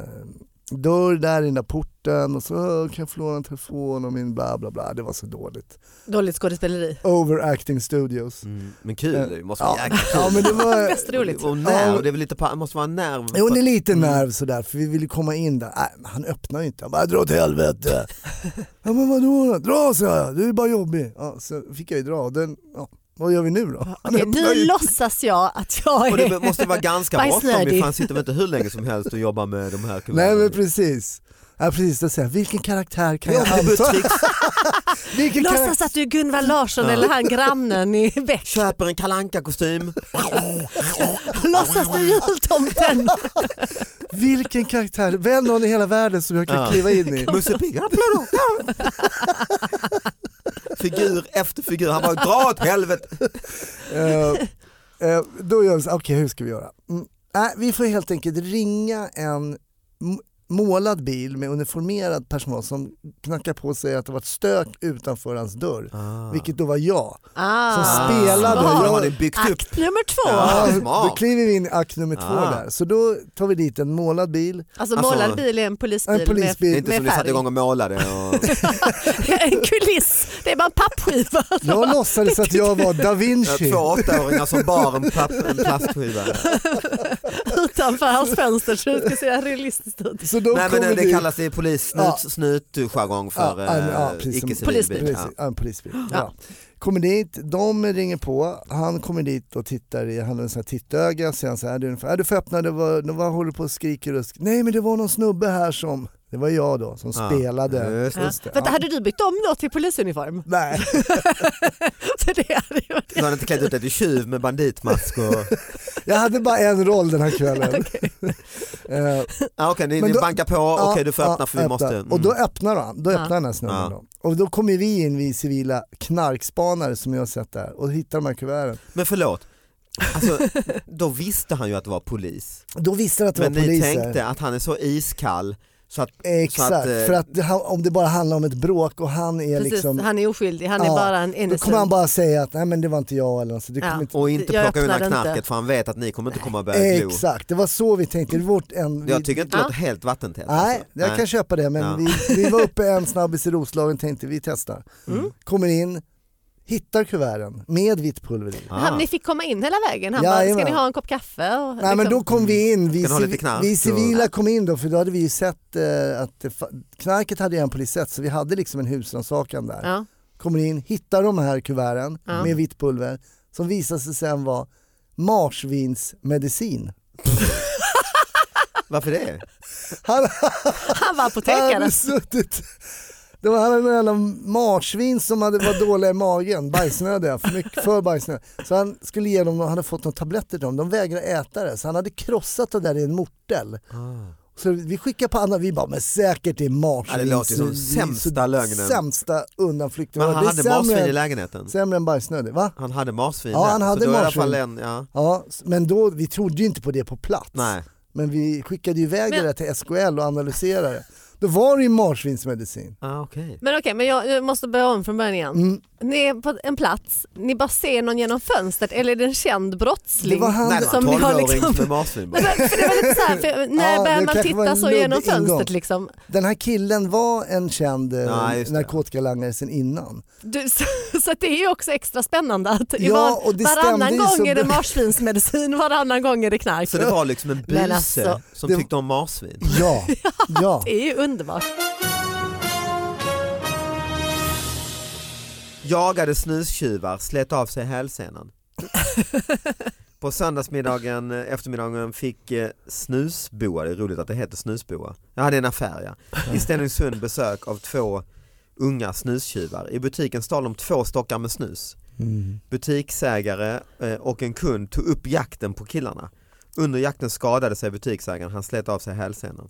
[SPEAKER 4] dörr där i den där porten och så "Åh, kan jag få låna en telefon och min bla bla bla. Det var så dåligt.
[SPEAKER 2] Dåligt skådespeleri.
[SPEAKER 4] Overacting studios.
[SPEAKER 3] Mm, men kul, det måste
[SPEAKER 4] Ja.
[SPEAKER 3] vara jäkligt
[SPEAKER 4] Ja, men det
[SPEAKER 3] [LAUGHS]
[SPEAKER 4] var...
[SPEAKER 2] Mest roligt.
[SPEAKER 3] Och nerv,
[SPEAKER 4] Ja.
[SPEAKER 3] det är väl lite, pa- måste vara en nerv.
[SPEAKER 4] Jo, det är lite nerv sådär, för vi ville komma in där. Nej, men han öppnar ju inte. Han bara, dra åt helvete. ja, men vadå då? Dra sa jag, du är bara jobbig. Ja, så fick jag ju dra. Den, ja, vad gör vi nu [LAUGHS] då? Han
[SPEAKER 2] Okej,
[SPEAKER 4] öppnar
[SPEAKER 2] nu
[SPEAKER 4] ju-
[SPEAKER 2] låtsas jag att jag
[SPEAKER 3] Och det
[SPEAKER 2] är...
[SPEAKER 3] måste vara ganska
[SPEAKER 2] Bajsnödig.
[SPEAKER 3] bråttom, för han sitter väl inte hur länge som helst och jobbar med de här
[SPEAKER 4] Nej, men
[SPEAKER 3] kuverten.
[SPEAKER 4] precis. Ja precis, då säger jag, vilken karaktär kan
[SPEAKER 3] Ja,
[SPEAKER 4] jag
[SPEAKER 3] det är
[SPEAKER 4] anta?
[SPEAKER 3] Buttricks.
[SPEAKER 4] [LAUGHS] vilken karaktär?
[SPEAKER 2] Låtsas att du är Gunvald Larsson eller han grannen
[SPEAKER 4] [LAUGHS]
[SPEAKER 2] i Beck.
[SPEAKER 3] Köper en kalanka kostym
[SPEAKER 2] Låtsas du är
[SPEAKER 4] [LAUGHS]
[SPEAKER 2] jultomten.
[SPEAKER 4] Vilken karaktär? Välj någon i hela världen som jag kan
[SPEAKER 3] Ja.
[SPEAKER 4] kliva in i.
[SPEAKER 3] Musse Pigg, applåder! Ja. [LAUGHS] Figur efter figur, han bara dra åt helvete!
[SPEAKER 4] Eh, eh, då gör vi så okej hur ska vi göra? Mm, nej, vi får helt enkelt ringa en m- målad bil med uniformerad personal som knackar på och säger att det var ett stök utanför hans dörr. Vilket då var jag.
[SPEAKER 2] Ah.
[SPEAKER 4] spelade.
[SPEAKER 3] Smart.
[SPEAKER 4] Jag-
[SPEAKER 3] De hade byggt
[SPEAKER 4] typ.
[SPEAKER 3] upp.
[SPEAKER 2] Akt nummer två.
[SPEAKER 3] Ja. Ah,
[SPEAKER 4] då
[SPEAKER 3] smart.
[SPEAKER 4] kliver vi in i akt nummer två
[SPEAKER 3] Ah.
[SPEAKER 4] där. Så då tar vi dit en målad bil.
[SPEAKER 2] Alltså
[SPEAKER 3] Alltså,
[SPEAKER 2] målad bil är en polisbil,
[SPEAKER 4] en polisbil.
[SPEAKER 3] Det är
[SPEAKER 2] med,
[SPEAKER 3] inte
[SPEAKER 2] med
[SPEAKER 3] som ni satte
[SPEAKER 2] färg. [LAUGHS]
[SPEAKER 3] igång och målade. Och... [LAUGHS]
[SPEAKER 2] en kuliss, det är bara en pappskiva. [LAUGHS]
[SPEAKER 4] Jag låtsades att jag var da
[SPEAKER 3] Ja,
[SPEAKER 4] Vinci.
[SPEAKER 3] Två åttaåringar som bar en, platt, en [LAUGHS] plastskiva.
[SPEAKER 2] utanför hans fönster så det ska se realistiskt ut.
[SPEAKER 4] Så då
[SPEAKER 3] Nej men
[SPEAKER 4] kommer
[SPEAKER 3] det,
[SPEAKER 4] dit-
[SPEAKER 3] kallas i polis
[SPEAKER 4] Ja.
[SPEAKER 3] snut, snutjargong för
[SPEAKER 4] Ja, ja, ja,
[SPEAKER 3] eh,
[SPEAKER 4] precis.
[SPEAKER 3] icke-civil
[SPEAKER 2] Polisbil.
[SPEAKER 3] bil.
[SPEAKER 4] Precis,
[SPEAKER 3] Ja.
[SPEAKER 4] ja. en polisbil. Ja. Kommer dit, de ringer på, han kommer dit och tittar i, han har en sån här tittöga, säger han så här, du, är ungefär, "Ja, du får öppna, det var, det var, håller på och skriker och sk- nej men det var någon snubbe här som, det var jag då, som
[SPEAKER 3] Ja, Eh.
[SPEAKER 4] spelade.
[SPEAKER 3] just det.
[SPEAKER 2] Ja.
[SPEAKER 4] det,
[SPEAKER 2] Vänta,
[SPEAKER 4] ja.
[SPEAKER 2] hade du bytt om då till polisuniform?
[SPEAKER 4] Nej,
[SPEAKER 2] [LAUGHS] För det hade ju varit
[SPEAKER 3] Så hade inte klätt ut dig till tjuv med banditmask och...
[SPEAKER 4] [LAUGHS] jag hade bara en roll den
[SPEAKER 3] [LAUGHS]
[SPEAKER 4] här kvällen. Eh,
[SPEAKER 3] Ah, Okej, ni,
[SPEAKER 4] Men
[SPEAKER 3] ni
[SPEAKER 4] då-
[SPEAKER 3] bankar på,
[SPEAKER 4] ja,
[SPEAKER 3] okej du får
[SPEAKER 4] ja,
[SPEAKER 3] öppna för vi
[SPEAKER 4] öppna.
[SPEAKER 3] måste... Mm.
[SPEAKER 4] Och då öppnar han, då
[SPEAKER 2] Ja.
[SPEAKER 4] öppnar den här snubben
[SPEAKER 3] Ja.
[SPEAKER 4] då. Och då kommer vi in, vi civila knarkspanare som jag har sett där och hittar de här kuverten.
[SPEAKER 3] Men förlåt, alltså, då visste han ju att det var polis.
[SPEAKER 4] Då visste de att det
[SPEAKER 3] Men
[SPEAKER 4] var
[SPEAKER 3] ni
[SPEAKER 4] poliser.
[SPEAKER 3] tänkte att han är så iskall så att
[SPEAKER 4] Exakt,
[SPEAKER 3] Så att, eh,
[SPEAKER 4] för att det, han- om det bara handlar om ett bråk och han är
[SPEAKER 2] Precis,
[SPEAKER 4] liksom...
[SPEAKER 2] han är oskyldig, han är
[SPEAKER 4] Ja,
[SPEAKER 2] bara en
[SPEAKER 4] då
[SPEAKER 2] innocent.
[SPEAKER 4] kommer han bara säga att nej men det var inte jag eller något, så det
[SPEAKER 2] Ja.
[SPEAKER 4] kommer inte...
[SPEAKER 3] och inte
[SPEAKER 2] Jag
[SPEAKER 3] plocka undan
[SPEAKER 2] öppnade
[SPEAKER 3] knarket
[SPEAKER 2] inte.
[SPEAKER 3] för han vet att ni kommer inte komma och börja glo.
[SPEAKER 4] Exakt, det var så vi tänkte. Det var Vårt en, vi,
[SPEAKER 3] Jag tycker inte det
[SPEAKER 2] Ja.
[SPEAKER 3] låter helt vattentätt.
[SPEAKER 4] nej,
[SPEAKER 3] alltså.
[SPEAKER 4] jag kan köpa det men
[SPEAKER 3] Ja.
[SPEAKER 4] vi, vi var uppe en snabbis i Roslagen och tänkte vi testar.
[SPEAKER 2] Mm.
[SPEAKER 4] Kommer in, hittar kuverten med vitt pulver i.
[SPEAKER 3] Ah.
[SPEAKER 2] Han, ni fick komma in hela vägen, han bara,
[SPEAKER 4] Jajamän.
[SPEAKER 2] ska ni ha en kopp kaffe? Och, liksom-
[SPEAKER 4] Nej men då kom vi in, vi,
[SPEAKER 3] Kan ha lite
[SPEAKER 4] civi-
[SPEAKER 3] knark
[SPEAKER 4] vi
[SPEAKER 3] och-
[SPEAKER 4] civila kom in då för då hade vi ju sett eh, att det fa- knarket hade ju en polis sett så vi hade liksom en husrannsakan där.
[SPEAKER 2] Ja. [LAUGHS]
[SPEAKER 4] kommer in, hittar de här kuverten
[SPEAKER 2] Ja.
[SPEAKER 4] med vitt pulver som visar sig sen vara marsvinsmedicin.
[SPEAKER 3] Varför det?
[SPEAKER 4] Han,
[SPEAKER 2] Han var
[SPEAKER 4] han
[SPEAKER 2] apotekare.
[SPEAKER 4] hade suttit... Det var han hade en jävla marsvin som hade var dåliga i magen, bajsnödiga, för, mycket, för bajsnödiga. Så han skulle ge dem, han hade fått några tabletter till dem, de vägrade äta det. Så han hade krossat det där i en mortel. Så vi skickar på andra, vi bara men säkert det är marsvin.
[SPEAKER 3] Ja, det låter ju som sämsta
[SPEAKER 4] Så-
[SPEAKER 3] lögnen.
[SPEAKER 4] Sämsta undanflykten.
[SPEAKER 3] Men han
[SPEAKER 4] Det är
[SPEAKER 3] hade
[SPEAKER 4] sämre
[SPEAKER 3] marsvin
[SPEAKER 4] än-
[SPEAKER 3] i lägenheten?
[SPEAKER 4] Sämre än bajsnödig, va?
[SPEAKER 3] Han hade marsvin
[SPEAKER 4] Ja,
[SPEAKER 3] där.
[SPEAKER 4] han hade
[SPEAKER 3] så då är det i alla
[SPEAKER 4] marsvin.
[SPEAKER 3] fall en, ja.
[SPEAKER 4] Ja, s- men då, vi trodde ju inte på det på plats.
[SPEAKER 3] Nej.
[SPEAKER 4] Men vi skickade ju iväg
[SPEAKER 2] Men-
[SPEAKER 4] det där till SKL och analyserade det. Då var det ju marsvinsmedicin.
[SPEAKER 3] Ah, okej.
[SPEAKER 2] Men okej, men jag, jag måste börja om från början igen.
[SPEAKER 4] Mm.
[SPEAKER 2] Ni är på en plats, ni bara ser någon genom fönstret eller är det en känd brottsling?
[SPEAKER 4] Det var han-
[SPEAKER 3] Nej, det var en
[SPEAKER 2] ni har
[SPEAKER 3] 12-åring
[SPEAKER 2] liksom-
[SPEAKER 3] med marsvin bara.
[SPEAKER 2] [LAUGHS] Men för det var lite så här, för när
[SPEAKER 4] Ja,
[SPEAKER 2] börjar
[SPEAKER 4] det
[SPEAKER 2] man
[SPEAKER 4] kanske var
[SPEAKER 2] titta
[SPEAKER 4] en
[SPEAKER 2] så genom
[SPEAKER 4] luddig ingång.
[SPEAKER 2] fönstret liksom?
[SPEAKER 4] Den här killen var en känd eh,
[SPEAKER 3] Ja, just det.
[SPEAKER 4] narkotikalangare sen innan.
[SPEAKER 2] Du, så, [LAUGHS] så att det är ju också extra spännande att i
[SPEAKER 4] Ja,
[SPEAKER 2] var,
[SPEAKER 4] och det stämde
[SPEAKER 2] varannan
[SPEAKER 4] ju
[SPEAKER 2] gång
[SPEAKER 4] så
[SPEAKER 2] är det
[SPEAKER 4] bra.
[SPEAKER 2] marsvinsmedicin, [LAUGHS] varannan gång är det knark.
[SPEAKER 3] Så det var liksom en buse
[SPEAKER 2] Men alltså-
[SPEAKER 3] som
[SPEAKER 4] Det-
[SPEAKER 3] tyckte om marsvin.
[SPEAKER 4] Ja,
[SPEAKER 2] [LAUGHS]
[SPEAKER 4] ja.
[SPEAKER 2] Det är ju underbart. [LAUGHS]
[SPEAKER 3] Jagade snustjuvar, slet av sig hälsenan. På söndagsmiddagen, eh, eftermiddagen fick eh, snusboa, det är roligt att det heter snusboa, jag hade en affär ja, i Stenungsund besök av två unga snustjuvar. I butiken stal de två stockar med snus.
[SPEAKER 4] Mm.
[SPEAKER 3] Butiksägare eh, och en kund tog upp jakten på killarna. Under jakten skadade sig butiksägaren, han slet av sig hälsenan.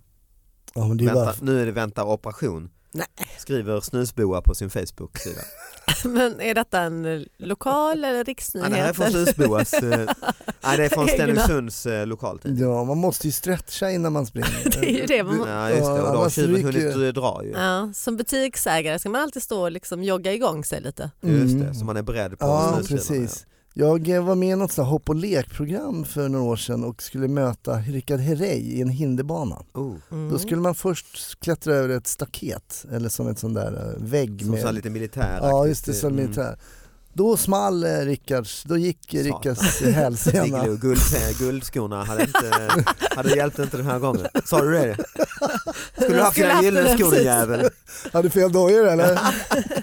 [SPEAKER 4] ja men det är bara...
[SPEAKER 3] Vänta, nu är det väntar operation,
[SPEAKER 2] Nej.
[SPEAKER 3] skriver snusboa på sin Facebook-sida.
[SPEAKER 2] Men är detta en eh, lokal eller
[SPEAKER 3] Ja, det här är
[SPEAKER 2] riksnyhet?
[SPEAKER 3] från
[SPEAKER 2] eller?
[SPEAKER 3] Susboas,
[SPEAKER 4] [LAUGHS]
[SPEAKER 3] eh, nej det är från
[SPEAKER 2] Egna.
[SPEAKER 3] Stenungsunds eh, lokaltidning.
[SPEAKER 4] Ja, man måste ju stretcha innan man
[SPEAKER 2] [LAUGHS]
[SPEAKER 4] springer.
[SPEAKER 2] Det är ju det man-
[SPEAKER 3] Ja just det, och
[SPEAKER 4] Mm. Ja,
[SPEAKER 3] då har
[SPEAKER 4] man
[SPEAKER 3] tjuven
[SPEAKER 4] stryker.
[SPEAKER 3] hunnit eh, dra ju.
[SPEAKER 2] Ja, som butiksägare ska man alltid stå och liksom jogga igång sig lite.
[SPEAKER 3] Just
[SPEAKER 4] Mm.
[SPEAKER 3] det, så man är beredd på
[SPEAKER 4] Ja,
[SPEAKER 3] snustjuvarna,
[SPEAKER 4] precis. Jag eh, var med i något sånt här hopp och lekprogram för några år sedan och skulle möta Rickard Herrey i en hinderbana.
[SPEAKER 3] Ja. Oh,
[SPEAKER 2] Mm.
[SPEAKER 4] Då skulle man först klättra över ett staket eller som ett sån där eh, vägg.
[SPEAKER 3] som
[SPEAKER 4] med...
[SPEAKER 3] så här lite mm. militär.
[SPEAKER 4] Ja just det, som militär. Då small eh, Rickards, då gick eh,
[SPEAKER 3] Satan.
[SPEAKER 4] Rickards eh, hälsena.
[SPEAKER 3] Igloo, guld, eh, guldskorna hade inte, hade hjälpt inte den här gången. Sa du det? Skulle du haft
[SPEAKER 2] Skulle
[SPEAKER 3] dina
[SPEAKER 2] haft den,
[SPEAKER 3] gyllene skor din
[SPEAKER 2] precis.
[SPEAKER 3] jävel?
[SPEAKER 4] Hade fel dojor eller? [LAUGHS]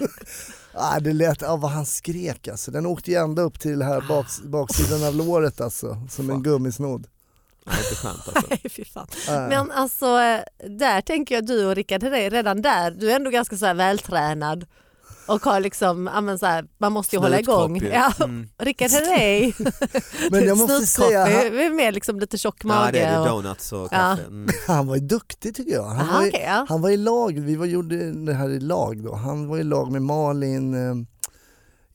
[SPEAKER 4] ah, det lät, ah, vad han skrek alltså. Den åkte ju ända upp till här baks, baksidan av låret alltså, som en gummisnodd.
[SPEAKER 3] Nej, inte skönt alltså.
[SPEAKER 2] [LAUGHS] Nej, fy fan.
[SPEAKER 4] Äh.
[SPEAKER 2] Men alltså eh, där tänker jag du och Rickard Herrey, redan där, du är ändå ganska så här vältränad och har liksom, ja, men så här, man måste ju hålla igång.
[SPEAKER 3] Snutkropp ju.
[SPEAKER 2] [LAUGHS] Ja,
[SPEAKER 3] Mm.
[SPEAKER 2] Rickard Herrey,
[SPEAKER 4] Men
[SPEAKER 2] [LAUGHS]
[SPEAKER 4] jag måste
[SPEAKER 2] snutkropp,
[SPEAKER 4] säga, han,
[SPEAKER 2] är mer liksom lite tjock
[SPEAKER 3] Ja, det
[SPEAKER 2] mage.
[SPEAKER 3] är det.
[SPEAKER 2] och,
[SPEAKER 3] Donuts och kaffe. Mm.
[SPEAKER 4] han var ju duktig tycker jag. Han
[SPEAKER 2] aha,
[SPEAKER 4] var ju,
[SPEAKER 2] okej, ja.
[SPEAKER 4] Han var i lag, vi var, gjorde det här i lag då. Han var i lag med Malin eh,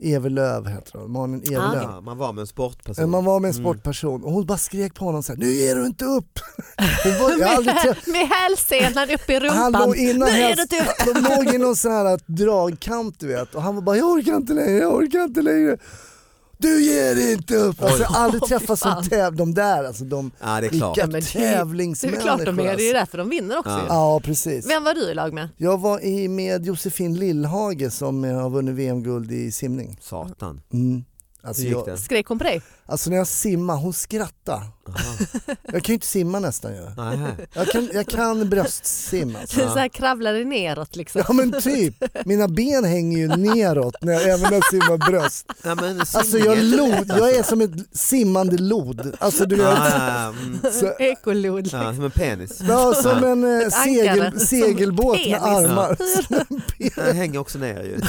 [SPEAKER 4] Evelöv heter hon.
[SPEAKER 2] Ah,
[SPEAKER 4] Malin Evelöv.
[SPEAKER 3] Ja, man var med en
[SPEAKER 4] Eh,
[SPEAKER 3] sportperson.
[SPEAKER 4] Man var med en
[SPEAKER 3] Mm.
[SPEAKER 4] sportperson och hon bara skrek på honom så här, nu ger du
[SPEAKER 2] [LAUGHS]
[SPEAKER 4] inte upp. Hon var, jag har aldrig träffat,
[SPEAKER 2] Med hälsenan upp i
[SPEAKER 4] han låg
[SPEAKER 2] rumpan.
[SPEAKER 4] innan
[SPEAKER 2] Nu är
[SPEAKER 4] häst,
[SPEAKER 2] det du!
[SPEAKER 4] [LAUGHS] de låg i någon sån här dragkamp du vet och han var bara jag orkar inte längre, jag orkar inte längre. Du ger inte upp! Alltså, jag har aldrig
[SPEAKER 2] Oj,
[SPEAKER 4] träffat
[SPEAKER 2] fy fan.
[SPEAKER 4] som täv, de där alltså, de,
[SPEAKER 3] Ja, det är klart.
[SPEAKER 4] vilka
[SPEAKER 2] men det- Det är
[SPEAKER 4] tävlingsmänniskor.
[SPEAKER 2] klart de är, det är ju
[SPEAKER 4] alltså.
[SPEAKER 2] därför de vinner också.
[SPEAKER 3] Ja.
[SPEAKER 2] ju.
[SPEAKER 4] Ja precis.
[SPEAKER 2] Vem var du i lag med?
[SPEAKER 4] Jag var i med Josefin Lillhage som eh, har vunnit VM-guld i simning.
[SPEAKER 3] Satan.
[SPEAKER 4] Mm. Alltså,
[SPEAKER 3] Hur gick
[SPEAKER 4] jag,
[SPEAKER 3] det?
[SPEAKER 2] Skrek hon på dig?
[SPEAKER 4] alltså när jag simmar, hon skrattar.
[SPEAKER 3] Aha.
[SPEAKER 4] Jag kan ju inte simma nästan ju.
[SPEAKER 3] Nej.
[SPEAKER 4] Jag kan, jag kan bröstsim alltså.
[SPEAKER 2] Så här kravlade neråt liksom.
[SPEAKER 4] Ja men typ, mina ben hänger ju neråt när jag, även när jag simmar bröst.
[SPEAKER 3] Nej, men
[SPEAKER 4] Alltså jag, lod, jag är som ett simmande lod. Alltså du vet,
[SPEAKER 3] Ja, mm.
[SPEAKER 4] så,
[SPEAKER 2] [LAUGHS] Ekolod. liksom.
[SPEAKER 3] ja, som en penis.
[SPEAKER 4] ja, som en eh,
[SPEAKER 2] ankare, som
[SPEAKER 4] segel, segelbåt med
[SPEAKER 2] penis.
[SPEAKER 4] armar.
[SPEAKER 3] Den hänger också ner ju.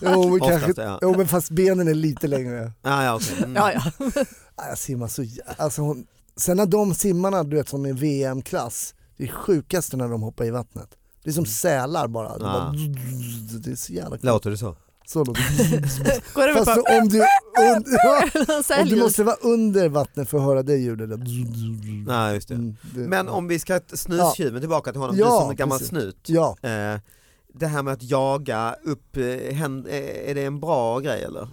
[SPEAKER 4] Jo, men
[SPEAKER 3] Oftast,
[SPEAKER 4] kanske,
[SPEAKER 3] ja.
[SPEAKER 4] jo men fast benen är lite längre.
[SPEAKER 3] Ja, ja, okej. Mm.
[SPEAKER 2] Ja, ja.
[SPEAKER 4] Ah, Jag simmar så jä- alltså hon... Sen när de simmarna du vet som är VM-klass, det är sjukaste när de hoppar i vattnet. Det är som sälar bara. Det, bara...
[SPEAKER 3] Mm. Ah.
[SPEAKER 4] det är så jävla coolt.
[SPEAKER 3] Låter det så?
[SPEAKER 4] Så låter
[SPEAKER 3] [LAUGHS]
[SPEAKER 2] Går
[SPEAKER 4] det.
[SPEAKER 2] över
[SPEAKER 4] Fast
[SPEAKER 2] [LAUGHS] på
[SPEAKER 4] om du, un... ja, [LAUGHS] om du
[SPEAKER 2] säljljud.
[SPEAKER 4] måste vara under vattnet för att höra det ljudet. där.
[SPEAKER 3] Nej, just det.
[SPEAKER 4] Mm, det-
[SPEAKER 3] Men om vi ska snustjuven tillbaka till honom,
[SPEAKER 4] Ja,
[SPEAKER 3] du som en gammal
[SPEAKER 4] precis.
[SPEAKER 3] snut.
[SPEAKER 4] Ja,
[SPEAKER 3] Eh, Det här med att jaga upp, eh, händ- eh, är det en bra grej eller?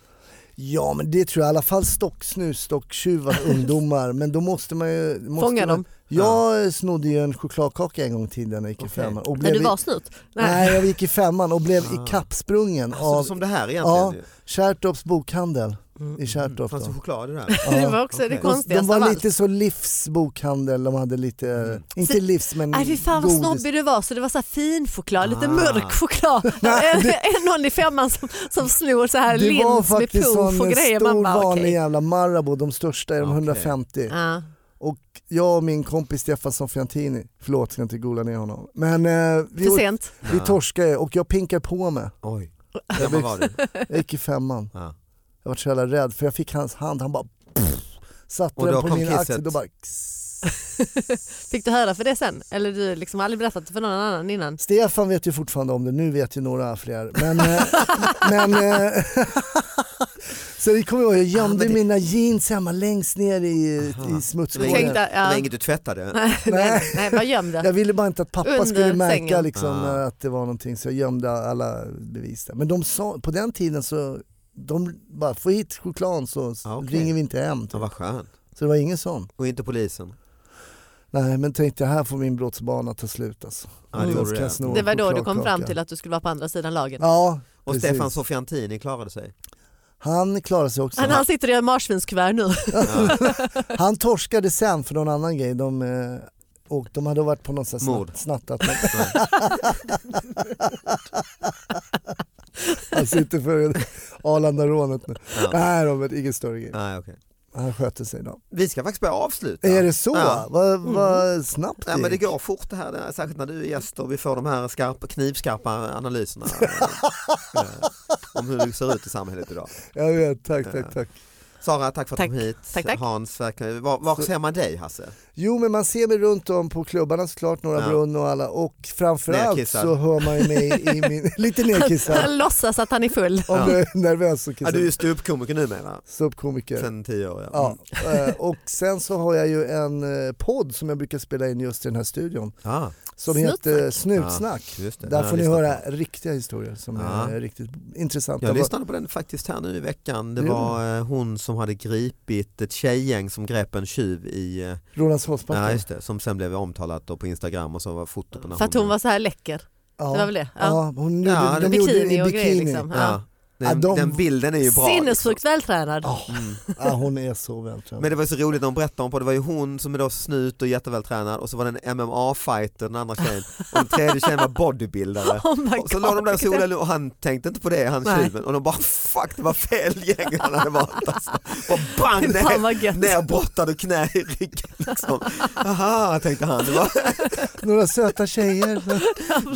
[SPEAKER 4] ja men det tror jag i alla fall stocksnus,
[SPEAKER 3] [LAUGHS]
[SPEAKER 4] stocktjuvar, ungdomar. Men då måste man ju... Måste
[SPEAKER 2] Fånga
[SPEAKER 4] man...
[SPEAKER 2] dem.
[SPEAKER 4] Jag snodde ju en chokladkaka en gång i tiden när jag gick i
[SPEAKER 3] Okej.
[SPEAKER 4] femman. Och
[SPEAKER 2] När
[SPEAKER 4] blev
[SPEAKER 2] du
[SPEAKER 4] i-
[SPEAKER 2] var snut? Nej.
[SPEAKER 4] Nej, jag gick i femman och blev
[SPEAKER 3] Ah.
[SPEAKER 4] ikappsprungen
[SPEAKER 3] Alltså,
[SPEAKER 4] av
[SPEAKER 3] Som det här egentligen
[SPEAKER 4] Ja,
[SPEAKER 3] ju.
[SPEAKER 4] Kärrtorps bokhandel i
[SPEAKER 3] Mm,
[SPEAKER 4] Kärrtorp.
[SPEAKER 3] Fanns det
[SPEAKER 4] då.
[SPEAKER 3] choklad i det
[SPEAKER 4] [LAUGHS]
[SPEAKER 2] [LAUGHS]
[SPEAKER 3] här?
[SPEAKER 2] Det var också
[SPEAKER 3] okej.
[SPEAKER 2] det
[SPEAKER 4] De, de
[SPEAKER 2] konstigaste av
[SPEAKER 4] var
[SPEAKER 2] allt.
[SPEAKER 4] lite så livsbokhandel, de hade lite,
[SPEAKER 3] Mm.
[SPEAKER 4] inte
[SPEAKER 2] Så-
[SPEAKER 4] livs men
[SPEAKER 2] Nej fy fan vad
[SPEAKER 4] godis.
[SPEAKER 2] snobbig du var så det var så här fin choklad, lite
[SPEAKER 3] Ah.
[SPEAKER 2] mörk choklad.
[SPEAKER 4] [LAUGHS]
[SPEAKER 2] Är är någon i femman som, som snor så här
[SPEAKER 4] Det var
[SPEAKER 2] lins med
[SPEAKER 4] faktiskt
[SPEAKER 2] puff
[SPEAKER 4] som
[SPEAKER 2] och
[SPEAKER 4] en
[SPEAKER 2] grejer.
[SPEAKER 4] stor
[SPEAKER 2] Man bara
[SPEAKER 4] vanlig
[SPEAKER 2] okej.
[SPEAKER 4] jävla Marabou, de största är de
[SPEAKER 3] Okej.
[SPEAKER 4] 150.
[SPEAKER 2] Ja.
[SPEAKER 4] Jag och min kompis Stefan Sofiantini, förlåt ska inte gola ner honom, men eh, vi,
[SPEAKER 2] För
[SPEAKER 4] åt-
[SPEAKER 2] sent. [LAUGHS]
[SPEAKER 4] vi
[SPEAKER 3] Ja.
[SPEAKER 4] torskade och jag pinkade på mig.
[SPEAKER 3] Oj, hur gammal var du?
[SPEAKER 4] Jag gick i femman,
[SPEAKER 3] Ja.
[SPEAKER 4] jag var så jävla rädd för jag fick hans hand, han bara satte
[SPEAKER 3] Och då
[SPEAKER 4] den på
[SPEAKER 3] kom
[SPEAKER 4] min axel
[SPEAKER 3] kisset.
[SPEAKER 4] och bara
[SPEAKER 2] Fick du höra för det sen? Eller du liksom aldrig berättat för någon annan innan?
[SPEAKER 4] Stefan vet ju fortfarande om det, nu vet ju några fler.
[SPEAKER 3] [LAUGHS]
[SPEAKER 4] Men, eh, men, eh, [LAUGHS] så det kommer jag ihåg, jag
[SPEAKER 3] Ah, men
[SPEAKER 4] gömde
[SPEAKER 3] det-
[SPEAKER 4] mina jeans hemma längst ner i,
[SPEAKER 3] Aha.
[SPEAKER 4] i smutshålet.
[SPEAKER 2] Tänkte,
[SPEAKER 3] Det var
[SPEAKER 2] ja.
[SPEAKER 3] inget du tvättade?
[SPEAKER 2] [LAUGHS] Nej, nej, nej, bara göm det.
[SPEAKER 4] Jag ville bara inte att pappa
[SPEAKER 2] Under
[SPEAKER 4] skulle märka
[SPEAKER 2] sängen.
[SPEAKER 4] liksom,
[SPEAKER 3] Ah.
[SPEAKER 4] eh, att det var någonting så jag gömde alla bevis där. Men de sa, på den tiden så de bara, få hit chokladen så
[SPEAKER 3] Ah, okej.
[SPEAKER 4] ringer vi inte hem.
[SPEAKER 3] Ja,
[SPEAKER 4] Typ.
[SPEAKER 3] vad skönt.
[SPEAKER 4] Så det var ingen sån.
[SPEAKER 3] Och inte polisen?
[SPEAKER 4] Nej men tänkte jag här får min brottsbana ta slut alltså.
[SPEAKER 3] Ja, det
[SPEAKER 4] Mm.
[SPEAKER 3] gjorde
[SPEAKER 4] Ska jag
[SPEAKER 3] det.
[SPEAKER 4] sno?
[SPEAKER 2] Det var då du kom
[SPEAKER 4] chokladkaka.
[SPEAKER 2] fram till att du skulle vara på andra sidan lagen.
[SPEAKER 4] Ja,
[SPEAKER 3] Och
[SPEAKER 4] Precis.
[SPEAKER 3] Stefan Sofiantini klarade
[SPEAKER 4] [LAUGHS]
[SPEAKER 3] sig?
[SPEAKER 4] han klarade sig också.
[SPEAKER 2] Han, han sitter i en marsvinskuvert
[SPEAKER 4] [LAUGHS]
[SPEAKER 2] nu.
[SPEAKER 3] Ja.
[SPEAKER 4] Han torskade sen för någon annan grej. De, eh, och de hade varit på något sånt
[SPEAKER 3] Mord.
[SPEAKER 4] snatt, snattat. Han sitter för Arlandarånet nu.
[SPEAKER 3] Ja.
[SPEAKER 4] Nej Robert, ingen större grej.
[SPEAKER 3] Nej, okej.
[SPEAKER 4] Han sköter sig då.
[SPEAKER 3] Vi ska faktiskt börja avsluta.
[SPEAKER 4] Är det så?
[SPEAKER 3] Ja. Mm.
[SPEAKER 4] Vad vad snabbt
[SPEAKER 3] Nej, men det
[SPEAKER 4] gick.
[SPEAKER 3] går fort det här, det här, särskilt när du är gäst och vi får de här skarpa, knivskarpa
[SPEAKER 4] [LAUGHS]
[SPEAKER 3] analyserna eh, om hur det ser ut i samhället idag.
[SPEAKER 4] Jag vet, tack tack tack.
[SPEAKER 3] Sara, tack för att du
[SPEAKER 2] Tack.
[SPEAKER 3] kom hit.
[SPEAKER 2] Tack, tack.
[SPEAKER 3] Hans, verkligen. var, var ser man dig Hasse?
[SPEAKER 4] Jo men man ser mig runt om på klubbarna såklart, Norra
[SPEAKER 3] Ja.
[SPEAKER 4] Brunn och alla och framförallt
[SPEAKER 3] Nerkissad.
[SPEAKER 4] så hör man ju mig
[SPEAKER 3] [LAUGHS]
[SPEAKER 4] i min, lite nerkissad
[SPEAKER 2] Han låtsas att han är full.
[SPEAKER 4] om
[SPEAKER 3] Ja.
[SPEAKER 4] du är nervös så
[SPEAKER 3] Ja,
[SPEAKER 4] kissar
[SPEAKER 3] du är ju
[SPEAKER 4] du.
[SPEAKER 3] ståuppkomiker numera,
[SPEAKER 4] Ståuppkomiker.
[SPEAKER 3] sen tio år.
[SPEAKER 4] Ja,
[SPEAKER 3] Mm.
[SPEAKER 4] eh, och sen så har jag ju en eh, podd som jag brukar spela in just i den här studion
[SPEAKER 3] Ja,
[SPEAKER 4] som
[SPEAKER 2] Snutsnack.
[SPEAKER 4] heter Snutsnack.
[SPEAKER 3] Mm. Ah, just det. Den
[SPEAKER 4] Där
[SPEAKER 3] har
[SPEAKER 4] får ni
[SPEAKER 3] jag lyssnat
[SPEAKER 4] höra
[SPEAKER 3] på.
[SPEAKER 4] riktiga historier som
[SPEAKER 3] Ja.
[SPEAKER 4] är riktigt intressanta.
[SPEAKER 3] Jag lyssnade på den faktiskt här nu i veckan. Det
[SPEAKER 4] Det gjorde
[SPEAKER 3] var eh, hon som hade gripit ett tjejgäng som grep en tjuv i, eh, ja,
[SPEAKER 4] Rålambshovsbacken.
[SPEAKER 3] just det, som sen blev omtalat då på Instagram och så var foto på när
[SPEAKER 2] För att hon var så här läcker. Det var
[SPEAKER 4] Ja.
[SPEAKER 2] väl det? Ja.
[SPEAKER 4] Ja, hon gjorde,
[SPEAKER 3] Ja,
[SPEAKER 4] de
[SPEAKER 2] Bikini
[SPEAKER 4] gjorde det i
[SPEAKER 2] och
[SPEAKER 4] bikini.
[SPEAKER 2] grejer liksom.
[SPEAKER 3] Ja.
[SPEAKER 4] Ja,
[SPEAKER 3] Den,
[SPEAKER 4] de-
[SPEAKER 3] den bilden är ju bra.
[SPEAKER 2] Sinnessjukt vältränad.
[SPEAKER 3] Mm.
[SPEAKER 4] liksom. [LAUGHS] Ja, hon är så vältränad.
[SPEAKER 3] Men det var så roligt när hon berättade om på det var ju hon som är då snut och jättevältränad och så var det en MMA-fighter den andra tjejen och den tredje tjejen var bodybuildare.
[SPEAKER 2] [LAUGHS] Oh my
[SPEAKER 3] Och
[SPEAKER 4] [LAUGHS]
[SPEAKER 3] så låg de där
[SPEAKER 2] God.
[SPEAKER 3] solen och han tänkte inte på det, han
[SPEAKER 2] Nej.
[SPEAKER 3] tjuven, och de bara fuck det var fel gäng han hade valt
[SPEAKER 2] [LAUGHS]
[SPEAKER 3] alltså. Och bang
[SPEAKER 2] Fan
[SPEAKER 3] ner,
[SPEAKER 2] vad gött.
[SPEAKER 3] nerbrottad och knä i ryggen liksom. Aha, tänkte han, det var,
[SPEAKER 2] [LAUGHS]
[SPEAKER 4] Några
[SPEAKER 3] [LAUGHS]
[SPEAKER 4] söta tjejer.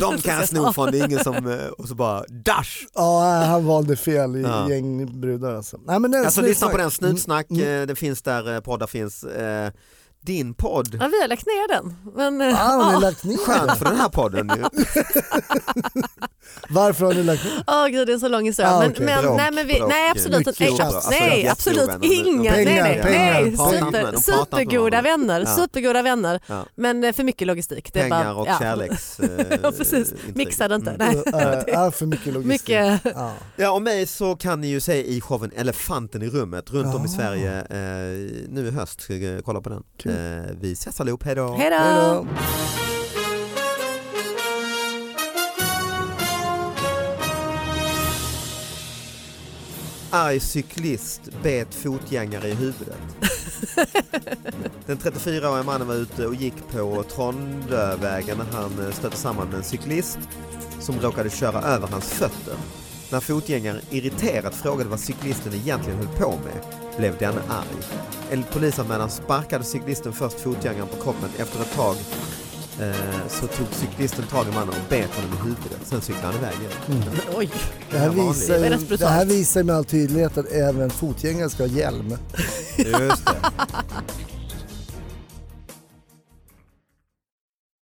[SPEAKER 3] de kan jag sno från, det är ingen som, eh, och så bara dash.
[SPEAKER 4] Ja, han valde fel i
[SPEAKER 3] Ja.
[SPEAKER 4] gäng brudar alltså. Nej, men den
[SPEAKER 3] Alltså lyssna på den, Snutsnack,
[SPEAKER 4] Mm, mm.
[SPEAKER 3] eh, den finns där eh, poddar finns. Eh, Din podd,
[SPEAKER 2] Ja, vi har lagt ner den. Men, eh, [LAUGHS]
[SPEAKER 4] Ah, har ni lagt ner
[SPEAKER 3] skönt
[SPEAKER 4] den?
[SPEAKER 3] för den här podden ju.
[SPEAKER 4] Varför har ni lagt ner
[SPEAKER 2] Åh gud det är så lång historia.
[SPEAKER 4] Ah,
[SPEAKER 2] men,
[SPEAKER 4] okej.
[SPEAKER 2] men,
[SPEAKER 3] Bråk,
[SPEAKER 2] nej, men vi,
[SPEAKER 3] bråk.
[SPEAKER 2] nej absolut,
[SPEAKER 4] Mycket
[SPEAKER 2] nej,
[SPEAKER 4] jobb.
[SPEAKER 2] abs-
[SPEAKER 4] Alltså,
[SPEAKER 2] nej,
[SPEAKER 3] jättejobb.
[SPEAKER 2] absolut
[SPEAKER 3] De- de-
[SPEAKER 2] inga. Nej,
[SPEAKER 4] Pengar,
[SPEAKER 2] nej,
[SPEAKER 4] pengar,
[SPEAKER 2] nej.
[SPEAKER 4] pratar inte med
[SPEAKER 2] Super,
[SPEAKER 3] dem, pratar inte med
[SPEAKER 2] supergoda
[SPEAKER 3] dem.
[SPEAKER 2] vänner,
[SPEAKER 3] Ja.
[SPEAKER 2] supergoda vänner.
[SPEAKER 3] Ja.
[SPEAKER 2] Men eh, för mycket logistik. Det är
[SPEAKER 3] Pengar
[SPEAKER 2] bara,
[SPEAKER 3] och
[SPEAKER 2] ja. [LAUGHS]
[SPEAKER 3] kärleks... eh,
[SPEAKER 2] Ja, precis. Mixa det inte.
[SPEAKER 3] Mm.
[SPEAKER 2] [LAUGHS] Nej.
[SPEAKER 4] den? Äh, för mycket logistik.
[SPEAKER 2] Mycket.
[SPEAKER 4] Ja.
[SPEAKER 3] Ja, och mig så kan ni ju se i showen Elefanten i rummet runt om i
[SPEAKER 2] Ah.
[SPEAKER 4] Ja.
[SPEAKER 3] Sverige eh, nu i höst. Ska vi Kolla på den.
[SPEAKER 4] Kul.
[SPEAKER 3] Eh, vi ses allihop, hej då!
[SPEAKER 2] Hej
[SPEAKER 4] Hej
[SPEAKER 2] då!
[SPEAKER 4] då.
[SPEAKER 3] Arg cyklist bet fotgängare i
[SPEAKER 4] [LAUGHS]
[SPEAKER 3] huvudet. Den 34-årige mannen var ute och gick på Trondövägen när han eh, stötte samman med en cyklist som råkade köra över hans fötter. När fotgängaren irriterat frågade vad cyklisten egentligen höll på med blev denne arg. Enligt polisanmälan sparkade cyklisten först fotgängaren på kroppen. Efter ett tag eh, så tog cyklisten tag i mannen och bet honom i huvudet. Sen cyklade han iväg igen.
[SPEAKER 2] Oj,
[SPEAKER 4] Mm. Det, här
[SPEAKER 3] Den här
[SPEAKER 4] visar,
[SPEAKER 2] Det är
[SPEAKER 4] ju-
[SPEAKER 2] rätt brutalt.
[SPEAKER 4] det här visar ju med all tydlighet att även fotgängare ska ha hjälm.
[SPEAKER 3] Just det.